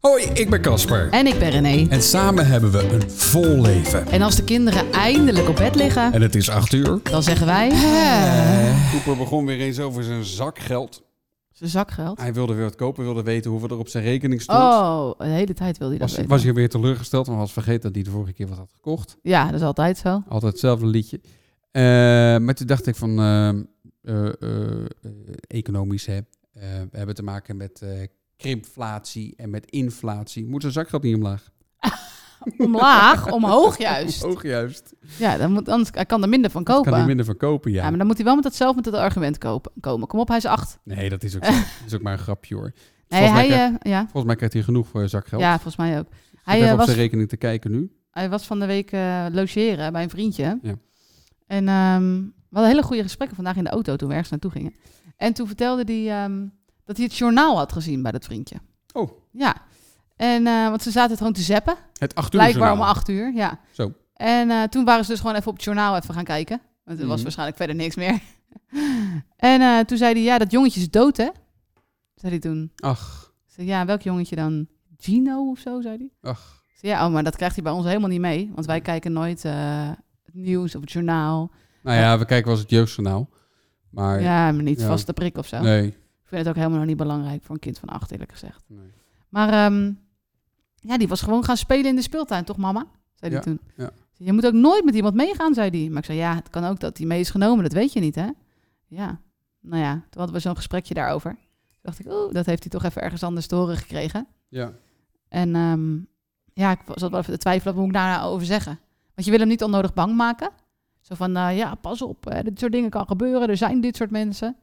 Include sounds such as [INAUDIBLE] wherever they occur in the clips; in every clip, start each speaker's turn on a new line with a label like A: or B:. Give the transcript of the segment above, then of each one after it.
A: Hoi, ik ben Casper.
B: En ik ben René.
A: En samen hebben we een vol leven.
B: En als de kinderen eindelijk op bed liggen,
A: En het is acht uur.
B: dan eh, zeggen wij... Hè,
A: Cooper begon weer eens over zijn zakgeld.
B: zijn zakgeld.
A: Hij wilde weer wat kopen, wilde weten hoeveel er op zijn rekening stond.
B: Oh, de hele tijd wil hij dat
A: was,
B: weten.
A: was hij weer teleurgesteld, want hij was vergeten dat hij de vorige keer wat had gekocht.
B: Ja, dat is altijd zo.
A: Altijd hetzelfde liedje. Eh, maar toen dacht ik van, eh, eh, eh, eh, economisch hè. Eh, we hebben te maken met eh, krimpflatie en met inflatie. Moet zijn zakgeld niet omlaag?
B: Omlaag,
A: [LAUGHS]
B: omhoog juist.
A: Ook juist.
B: Ja, dan moet, anders, hij kan er minder van kopen.
A: Kan hij minder van kopen, ja.
B: Ja, maar dan moet hij wel met datzelfde met dat argument kopen, komen. Kom op, hij is acht.
A: Nee, dat
B: [LAUGHS]
A: is ook, zo. dat is ook maar een grapje hoor.
B: Nee,
A: Volgens mij
B: hij,
A: krijgt-
B: eh, ja.
A: Volgens mij krijgt hij genoeg voor zakgeld.
B: ja, volgens mij ook.
A: hij
B: Hij, eh,
A: op
B: was,
A: zijn rekening te kijken nu.
B: hij was van de week eh, logeren bij een vriendje.
A: Ja.
B: En ehm, we hadden hele goede gesprekken vandaag in de auto toen we ergens naartoe gingen. En toen vertelde hij ehm, dat hij het journaal had gezien bij dat vriendje.
A: Oh.
B: Ja. En, eh, want ze zaten het gewoon te zeppen.
A: Het acht uur
B: Blijkbaar om
A: journaal.
B: acht uur, ja.
A: Zo.
B: En eh, toen waren ze dus gewoon even op het journaal even gaan kijken. Want er was
A: Mhm.
B: waarschijnlijk verder niks meer. [LAUGHS] en eh, toen zei hij, ja, dat jongetje is dood, hè? Zei hij toen.
A: Ach,
B: Ik zei, ja, welk jongetje dan? Gino of zo, zei hij.
A: ach.
B: Ik zei, ja, oh, maar dat krijgt hij bij ons helemaal niet mee. Want wij kijken nooit eh, het nieuws of het journaal.
A: Nou ja, we kijken wel eens het jeugdjournaal. Maar
B: Ja, maar niet
A: Ja.
B: vast de prik of zo.
A: nee.
B: Ik vind het ook helemaal nog niet belangrijk voor een kind van acht, eerlijk gezegd.
A: nee.
B: Maar ehm, ja, die was gewoon gaan spelen in de speeltuin, toch mama? Zei die
A: Ja,
B: toen.
A: ja.
B: Je moet ook nooit met iemand meegaan, zei die. Maar ik zei, ja, het kan ook dat die mee is genomen, dat weet je niet, hè? Ja, nou ja, toen hadden we zo'n gesprekje daarover. Toen dacht ik, oeh, dat heeft hij toch even ergens anders te horen gekregen.
A: Ja.
B: En ehm, ja, ik zat wel even te twijfelen, wat moet ik daar nou over zeggen? Want je wil hem niet onnodig bang maken. Zo van, eh, ja, pas op, hè, dit soort dingen kan gebeuren, er zijn dit soort mensen.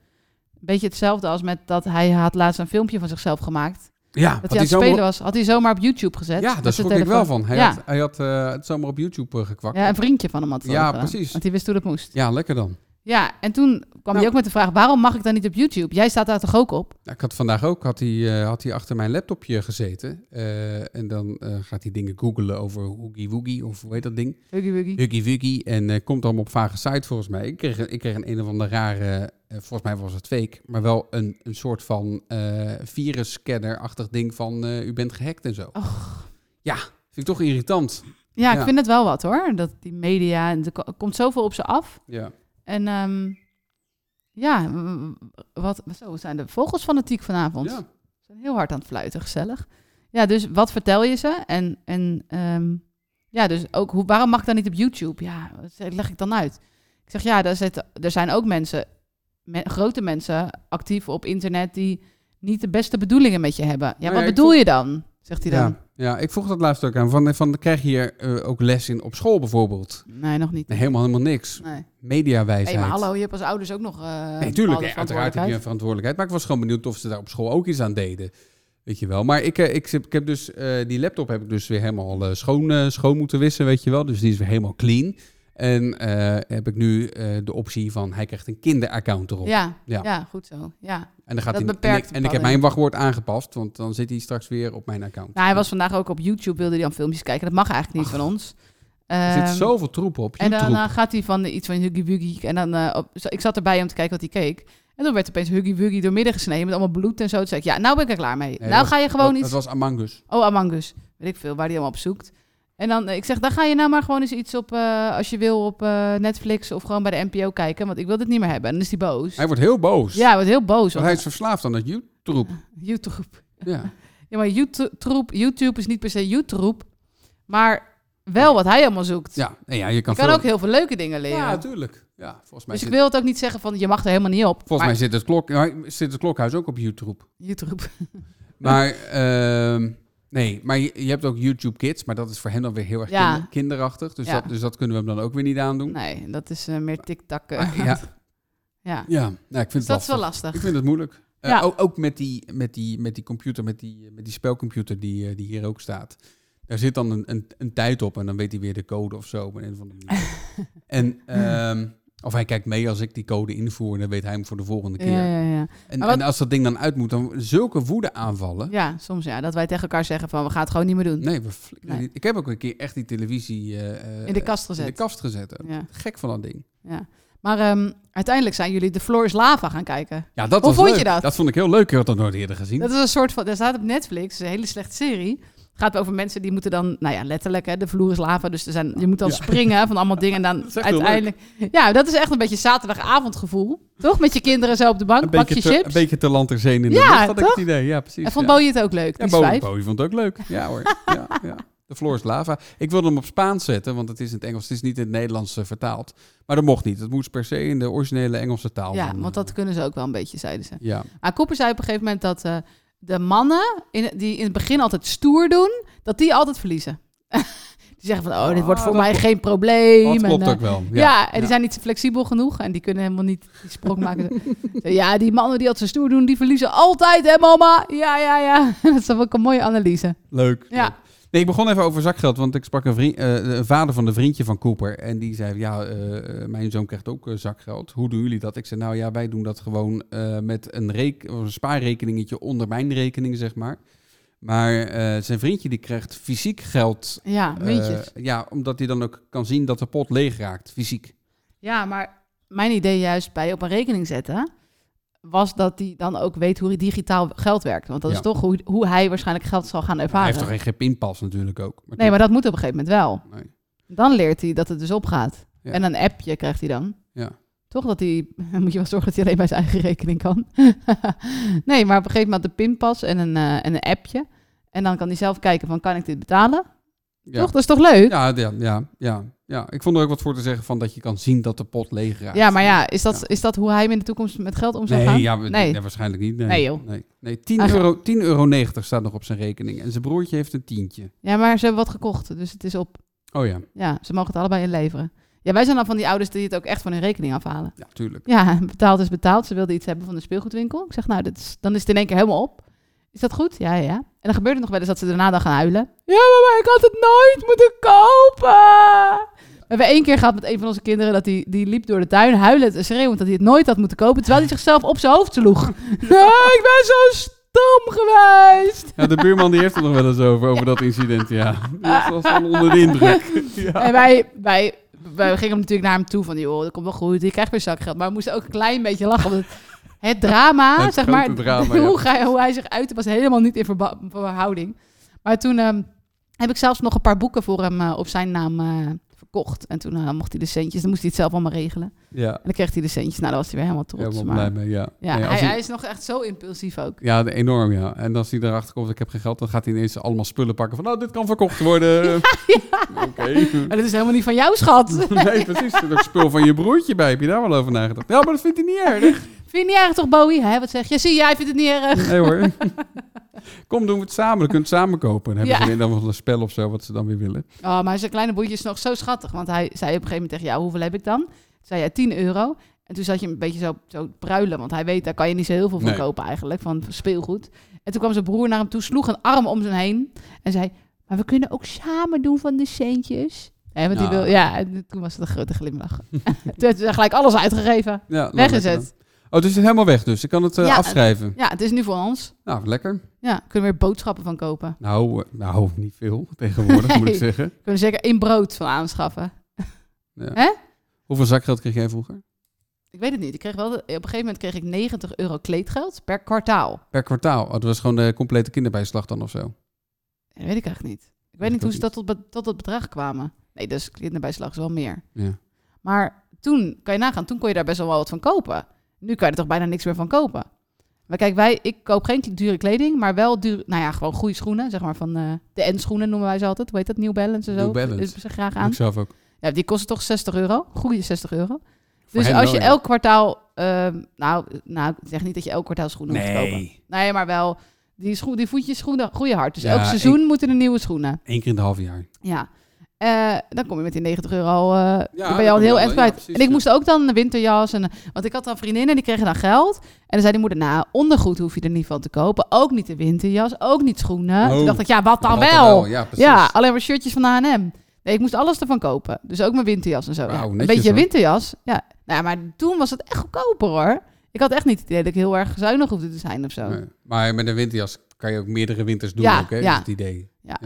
B: Beetje hetzelfde als met dat hij had laatst een filmpje van zichzelf gemaakt.
A: Ja,
B: Dat
A: had
B: hij aan het
A: hij
B: spelen
A: zomaar-
B: was. Had hij zomaar op YouTube gezet.
A: ja
B: met
A: daar
B: zijn
A: schrok ik wel
B: telefoon.
A: van. Hij
B: ja.
A: had, hij had eh, het zomaar op YouTube eh, gekwakt.
B: ja,
A: Ja,
B: een vriendje van hem had het
A: Ja,
B: ook gedaan,
A: precies.
B: Want hij wist hoe dat moest.
A: lekker dan.
B: Ja, en toen kwam
A: Nou.
B: hij ook met de vraag... waarom mag ik dan niet op YouTube? Jij staat daar toch ook op?
A: Nou, ik had vandaag ook, had hij, eh, had hij achter mijn laptopje gezeten. eh, en dan eh, gaat hij dingen googelen over Oogie Woogie of hoe heet dat ding?
B: Huggy wuggy.
A: Huggy Wuggy. En eh, komt dan op vage site volgens mij. Ik kreeg, ik kreeg een een of andere rare, eh, volgens mij was het fake, maar wel een, een soort van eh virusscanner-achtig ding van eh, u bent gehackt en zo.
B: Oh.
A: Ja, vind ik toch irritant.
B: Ja, ik
A: Ja.
B: vind het wel wat hoor. Dat die media... En er ko- komt zoveel op ze af.
A: Ja.
B: En ehm, ja, w- wat, zo we zijn de vogels fanatiek vanavond.
A: Ja.
B: Ze zijn heel hard aan het fluiten, gezellig. Ja, dus wat vertel je ze? En, en ehm, ja, dus ook hoe, waarom mag ik dan niet op YouTube? Ja, wat zeg- leg ik dan uit? Ik zeg ja, daar zit, er zijn ook mensen, me- grote mensen, actief op internet die niet de beste bedoelingen met je hebben. Ja,
A: Nou
B: wat
A: ja, ik
B: bedoel
A: vond-
B: je dan? Zegt hij dan.
A: Ja. ja, ik vroeg dat laatst ook aan. Van, van, krijg je hier eh, ook les in op school bijvoorbeeld?
B: Nee, nog niet.
A: Nee, helemaal, helemaal niks.
B: Nee.
A: Mediawijsheid.
B: Hey, maar hallo, je hebt als ouders ook nog. eh
A: Nee, tuurlijk,
B: natuurlijk
A: hè, uiteraard heb je een verantwoordelijkheid. Maar ik was gewoon benieuwd of ze daar op school ook iets aan deden. Weet je wel. Maar ik, eh, ik, zit- ik heb dus, eh, die laptop heb ik dus weer helemaal eh, schoon, eh, schoon moeten wissen, weet je wel. Dus die is weer helemaal clean. En eh, heb ik nu eh, de optie van, hij krijgt een kinderaccount erop.
B: Ja,
A: Ja.
B: ja. goed zo. Ja.
A: en dan gaat
B: dat
A: hij, en ik, en
B: beperkt
A: ik heb
B: bepaalde-
A: mijn wachtwoord aangepast, want dan zit hij straks weer op mijn account.
B: Nou, hij was vandaag ook op YouTube, wilde hij dan filmpjes kijken. Dat mag eigenlijk niet van ons.
A: er zit
B: Ehm,
A: zoveel troep op.
B: En dan
A: troep.
B: eh, gaat hij van iets van Huggy Wuggy. En dan, eh, op, zo- ik zat erbij om te kijken wat hij keek. En dan werd opeens Huggy Wuggy doormidden gesneden met allemaal bloed en zo. Toen zei ik, ja, nou ben ik er klaar mee.
A: Nee,
B: nou
A: dat
B: ga je gewoon
A: dat,
B: iets...
A: dat was Among Us.
B: Oh, Among Us. Weet ik veel, waar hij allemaal op zoekt. En dan, eh, ik zeg, dan ga je nou maar gewoon eens iets op, eh, als je wil, op eh, Netflix of gewoon bij de NPO kijken. Want ik wil dit niet meer hebben. En dan is hij boos.
A: Hij wordt heel boos.
B: Ja, hij wordt heel boos.
A: want
B: Want
A: hij is verslaafd aan dat YouTube-troep.
B: YouTube.
A: Ja.
B: Ja, maar YouTube, YouTube is niet per se YouTube. Maar wel wat hij allemaal zoekt.
A: Ja. Nee, ja, je kan,
B: je kan
A: veel-
B: ook heel veel leuke dingen leren.
A: Ja, tuurlijk. Ja, volgens mij
B: dus ik
A: zit-
B: wil het ook niet zeggen van, je mag er helemaal niet op.
A: Volgens
B: maar-
A: mij zit het, klok, nou, zit het klokhuis ook op YouTube.
B: YouTube.
A: Maar ehm, nee, maar je, je hebt ook YouTube Kids, maar dat is voor hen dan weer heel erg
B: Ja.
A: kinder- kinderachtig. Dus,
B: Ja.
A: dat, dus dat kunnen we hem dan ook weer niet aandoen.
B: [LAUGHS] Nee, dat is eh, meer tiktakken.
A: Ah, ja.
B: [LAUGHS] ja.
A: Ja, nou, ik vind
B: Dus
A: het
B: dat is wel
A: lastig.
B: lastig.
A: Ik vind het moeilijk. Eh,
B: Ja.
A: ook, ook met die, met die, met die computer, met die, met die spelcomputer die, eh, die hier ook staat. Daar zit dan een, een, een tijd op en dan weet hij weer de code of zo. op een of andere
B: [LAUGHS]
A: manier. en, ehm, of hij kijkt mee als ik die code invoer en dan weet hij hem voor de volgende keer.
B: Ja, ja, ja.
A: En,
B: Maar wat-
A: en als dat ding dan uit moet, dan zulke woede aanvallen.
B: ja, soms ja. Dat wij tegen elkaar zeggen van, we gaan het gewoon niet meer doen.
A: Nee, we flikkeren
B: Nee.
A: niet. ik heb ook een keer echt die televisie eh, eh,
B: In de kast
A: in de
B: gezet.
A: kast gezet.
B: Ja,
A: Gek van dat ding.
B: ja. Maar ehm, uiteindelijk zijn jullie de Floor is Lava gaan kijken.
A: Ja, dat
B: Hoe
A: was
B: vond je
A: leuk.
B: dat?
A: vond ik heel leuk. Ik had dat nooit eerder gezien.
B: Dat is een soort van. Er staat op Netflix een hele slechte serie. Het gaat over mensen die moeten dan, nou ja, letterlijk, hè, de vloer is lava. Dus er zijn, je moet dan
A: Ja.
B: springen van allemaal dingen. En dan
A: [LAUGHS] Dat is echt heel
B: uiteindelijk. Ja, dat is echt een beetje zaterdagavondgevoel. Toch? Met je kinderen zo op de bank,
A: een,
B: pak je
A: beetje te,
B: chips.
A: een beetje te land ter zee in de
B: Ja,
A: lucht, had ik
B: toch?
A: het idee. Ja, precies.
B: en vond
A: ja.
B: Bowie het ook leuk,
A: Ja,
B: die
A: Bowie,
B: zwijf.
A: Bowie vond het ook leuk. Ja hoor. Ja, ja. De Floor is Lava. Ik wilde hem op Spaans zetten, want het is in het Engels. Het is niet in het Nederlands eh, vertaald. Maar dat mocht niet. Het moest per se in de originele Engelse taal.
B: Ja,
A: van,
B: want dat kunnen ze ook wel een beetje, zeiden ze.
A: eh, Ja.
B: Maar Cooper zei op een gegeven moment dat eh, de mannen in, die in het begin altijd stoer doen, dat die altijd verliezen. [LAUGHS] die zeggen van, oh, dit
A: Ah,
B: wordt voor
A: dat
B: mij
A: klopt.
B: geen probleem.
A: Dat
B: en,
A: klopt
B: eh,
A: ook wel.
B: Ja, en die zijn niet flexibel genoeg en die kunnen helemaal niet die sprong maken. [LAUGHS] ja, die mannen die altijd zo stoer doen, die verliezen altijd, hè mama? Ja, ja, ja. [LAUGHS] dat is toch ook een mooie analyse.
A: Leuk.
B: Ja.
A: leuk. Nee, ik begon even over zakgeld, want ik sprak een, vriend, eh, een vader van de vriendje van Cooper. En die zei, ja, eh, eh, mijn zoon krijgt ook eh, zakgeld. Hoe doen jullie dat? Ik zei, nou ja, wij doen dat gewoon eh, met een, reek, of een spaarrekeningetje onder mijn rekening, zeg maar. Maar eh, zijn vriendje die krijgt fysiek geld.
B: Ja,
A: eh,
B: muntjes.
A: ja, omdat hij dan ook kan zien dat de pot leeg raakt, fysiek.
B: Ja, maar mijn idee juist bij op een rekening zetten was dat hij dan ook weet hoe digitaal geld werkt. Want dat
A: Ja.
B: is toch hoe, hoe hij waarschijnlijk geld zal gaan
A: Hij
B: ervaren.
A: heeft toch geen- geen pinpas natuurlijk ook. Maar
B: Nee, maar dat moet op een gegeven moment wel.
A: Nee.
B: Dan leert hij dat het dus opgaat.
A: Ja.
B: En een appje krijgt hij dan.
A: Ja.
B: Toch dat hij... [LAUGHS] Dan moet je wel zorgen dat hij alleen bij zijn eigen rekening kan. [LAUGHS] nee, maar op een gegeven moment de pinpas en een, eh, en een appje. En dan kan hij zelf kijken van, kan ik dit betalen?
A: ja.
B: Toch? Dat is toch leuk? Ja,
A: Ja, ja, ja, ja, ja. Ik vond er ook wat voor te zeggen van dat je kan zien dat de pot leeg raakt.
B: maar ja is, dat,
A: Ja.
B: is dat hoe hij hem in de toekomst met geld om zou
A: Nee,
B: gaan?
A: ja, we-
B: nee.
A: nee, waarschijnlijk niet. Nee,
B: Nee, joh.
A: Nee, nee 10
B: Eigenlijk-
A: euro, 10,90 euro staat nog op zijn rekening. En zijn broertje heeft een tientje.
B: Ja, maar ze hebben wat gekocht, dus het is op.
A: Oh ja,
B: Ja, ze mogen het allebei inleveren. Ja, wij zijn dan van die ouders die het ook echt van hun rekening afhalen.
A: ja, tuurlijk.
B: Ja, [LAUGHS] betaald is betaald. Ze wilde iets hebben van de speelgoedwinkel. Ik zeg, nou, dat is, dan is het in één keer helemaal op. Is dat goed? Ja, ja, ja. En dan gebeurt het nog wel eens dat ze daarna dan gaan huilen. Ja, mama, ik had het nooit moeten kopen. We hebben één keer gehad met een van onze kinderen dat die, die liep door de tuin huilend en schreeuwend dat hij het nooit had moeten kopen, terwijl hij zichzelf op zijn hoofd sloeg. [LAUGHS] Ja, ik ben zo stom geweest.
A: Ja, de buurman die heeft het nog wel eens over, over dat incident, ja. Dat was dan onder de
B: [LAUGHS]
A: indruk. Ja.
B: En wij, wij, wij gingen natuurlijk naar hem toe van, joh, dat komt wel goed, je krijgt weer zakgeld. Maar we moesten ook een klein beetje lachen, want het, het drama,
A: Het
B: zeg
A: grote
B: maar, [LAUGHS]
A: drama, ja,
B: hoe, hij, hoe hij zich uitte, was helemaal niet in verba- verhouding. Maar toen ehm, heb ik zelfs nog een paar boeken voor hem eh, op zijn naam eh, verkocht. En toen eh, mocht hij de centjes, dan moest hij het zelf allemaal regelen. En
A: Ja,
B: dan kreeg hij de centjes, nou, dan was hij weer helemaal trots.
A: helemaal
B: maar,
A: blij mee, ja.
B: Ja,
A: Nee, als
B: hij,
A: hij-
B: hij is nog echt zo impulsief ook.
A: ja, enorm, ja. En als hij erachter komt, ik heb geen geld, dan gaat hij ineens allemaal spullen pakken van, nou, dit kan verkocht
B: [LAUGHS]
A: worden. Oké. [LAUGHS]
B: Maar dat is helemaal niet van jou, schat.
A: Nee, precies. Er zit ook spul van je broertje bij. Heb je daar wel over nagedacht? Ja, maar dat vindt hij niet erg.
B: Vind je niet erg toch, Bowie? Hè, wat zeg je? Zie, jij vindt het niet erg.
A: Nee hoor. [LAUGHS] Kom, doen we het samen. Dan kun je het samen kopen. Dan hebben
B: Ja.
A: ze weer dan wel een spel of zo, wat ze dan weer willen.
B: Oh, maar zijn kleine boertje is nog zo schattig. Want hij zei op een gegeven moment tegen jou, hoeveel heb ik dan? Toen zei jij 10 euro. En toen zat je een beetje zo, zo te pruilen. Want hij weet, daar kan je niet zo heel veel van
A: Nee.
B: kopen eigenlijk. Van speelgoed. En toen kwam zijn broer naar hem toe, sloeg een arm om zijn heen. En zei, maar we kunnen ook samen doen van de centjes. Hè, want die
A: Nou.
B: wil, ja, en toen was het een grote glimlach. [LAUGHS] toen heeft hij gelijk alles uitgegeven.
A: Ja,
B: Weg
A: lekker
B: is
A: dan.
B: het.
A: Oh, dus het is helemaal weg dus. Ik kan het eh,
B: Ja,
A: afschrijven.
B: Ja, het is nu voor ons.
A: Nou, lekker.
B: Ja, kunnen we weer boodschappen van kopen.
A: Nou, eh, nou, niet veel tegenwoordig, moet ik
B: Nee.
A: zeggen.
B: Kunnen we zeker één brood van aanschaffen.
A: Hoeveel zakgeld kreeg jij vroeger?
B: Ik weet het niet. Ik kreeg wel, op een gegeven moment kreeg ik 90 euro kleedgeld per kwartaal.
A: Per kwartaal. Oh, dat was gewoon de complete kinderbijslag dan of zo.
B: Ja, weet ik eigenlijk niet. Ik
A: ik
B: weet niet
A: ook
B: hoe ze dat tot, be- tot dat bedrag kwamen. Nee, dus kinderbijslag is wel meer.
A: Ja.
B: Maar toen, kan je nagaan, toen kon je daar best wel wat van kopen. Nu kan je er toch bijna niks meer van kopen. Maar kijk, wij, ik koop geen kle- dure kleding, maar wel duur, nou ja, gewoon goede schoenen. Zeg maar van eh, de N-schoenen noemen wij ze altijd. Hoe heet dat? New Balance en zo.
A: New Balance.
B: Dus ze graag
A: Doe
B: aan.
A: Ik zelf ook.
B: Ja, die kosten toch 60 euro. Goede 60 euro.
A: Voor
B: dus
A: hen
B: als
A: wel,
B: je
A: ja.
B: elk kwartaal, ehm, nou, nou, ik zeg niet dat je elk kwartaal schoenen moet kopen. Nee, maar wel, die, schoen, die voetjes schoenen groeien hard. Dus
A: Ja,
B: elk seizoen moeten er nieuwe schoenen.
A: Eén keer in het half jaar.
B: Ja. Eh, dan kom je met die 90 euro al, eh, dan ben je
A: dan
B: al
A: kom je
B: heel
A: al-
B: eind
A: ja,
B: kwijt.
A: precies,
B: en ik
A: ja.
B: moest ook dan een winterjas. En, eh, want ik had dan vriendinnen, die kregen dan geld. En dan zei die moeder, nou, ondergoed hoef je er niet van te kopen. Ook niet de winterjas, ook niet schoenen.
A: Oh.
B: Toen dacht ik, ja, wat dan
A: Dat
B: wel?
A: Ja, precies.
B: ja, alleen maar shirtjes van de H&M. Nee, ik moest alles ervan kopen. Dus ook mijn winterjas en zo.
A: Wauw,
B: Ja, een
A: Nou, netjes,
B: beetje
A: hoor.
B: winterjas. Ja. Nou, ja, maar toen was het echt goedkoper hoor. Ik had echt niet het idee dat ik heel erg zuinig hoefde te zijn of zo.
A: Nee. Maar met een winterjas kan je ook meerdere winters doen
B: oh. Ja,
A: ook, hè?
B: ja.
A: Is het idee.
B: Ja.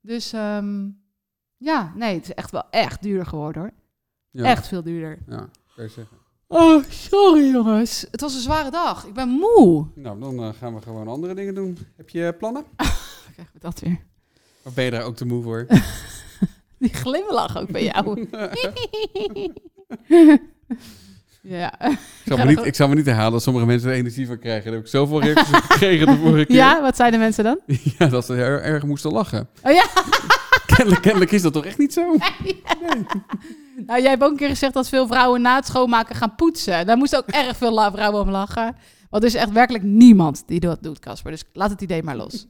B: Dus ehm, ja, nee, het is echt wel echt duur geworden hoor.
A: Ja.
B: Echt veel duurder.
A: Ja. kan je zeggen.
B: Oh, sorry jongens. Het was een zware dag. Ik ben moe.
A: Nou, dan eh, gaan we gewoon andere dingen doen. Heb je eh, plannen?
B: Dan krijgen we dat weer.
A: Of ben je daar ook te moe
B: [LAUGHS]
A: voor?
B: Die glimlach ook bij
A: [LAUGHS]
B: jou. [LAUGHS] ja.
A: Ik zal, me niet, ik zal me niet herhalen dat sommige mensen er energie van krijgen. Daar heb ik zoveel reacties op gekregen de vorige keer.
B: ja, wat zeiden mensen dan?
A: [LAUGHS] Ja, dat ze heel erg moesten lachen.
B: [LAUGHS] Oh ja.
A: [LAUGHS] Kennelijk, kennelijk is dat toch echt niet zo?
B: Nou, jij hebt ook een keer gezegd dat veel vrouwen na het schoonmaken gaan poetsen. Daar moesten ook erg veel la- vrouwen om lachen. Want er is echt werkelijk niemand die dat doet, Casper. Dus laat het idee maar los.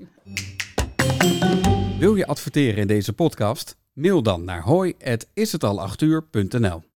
A: Wil je adverteren in deze podcast? Mail dan naar hoi@ishetal8uur.nl.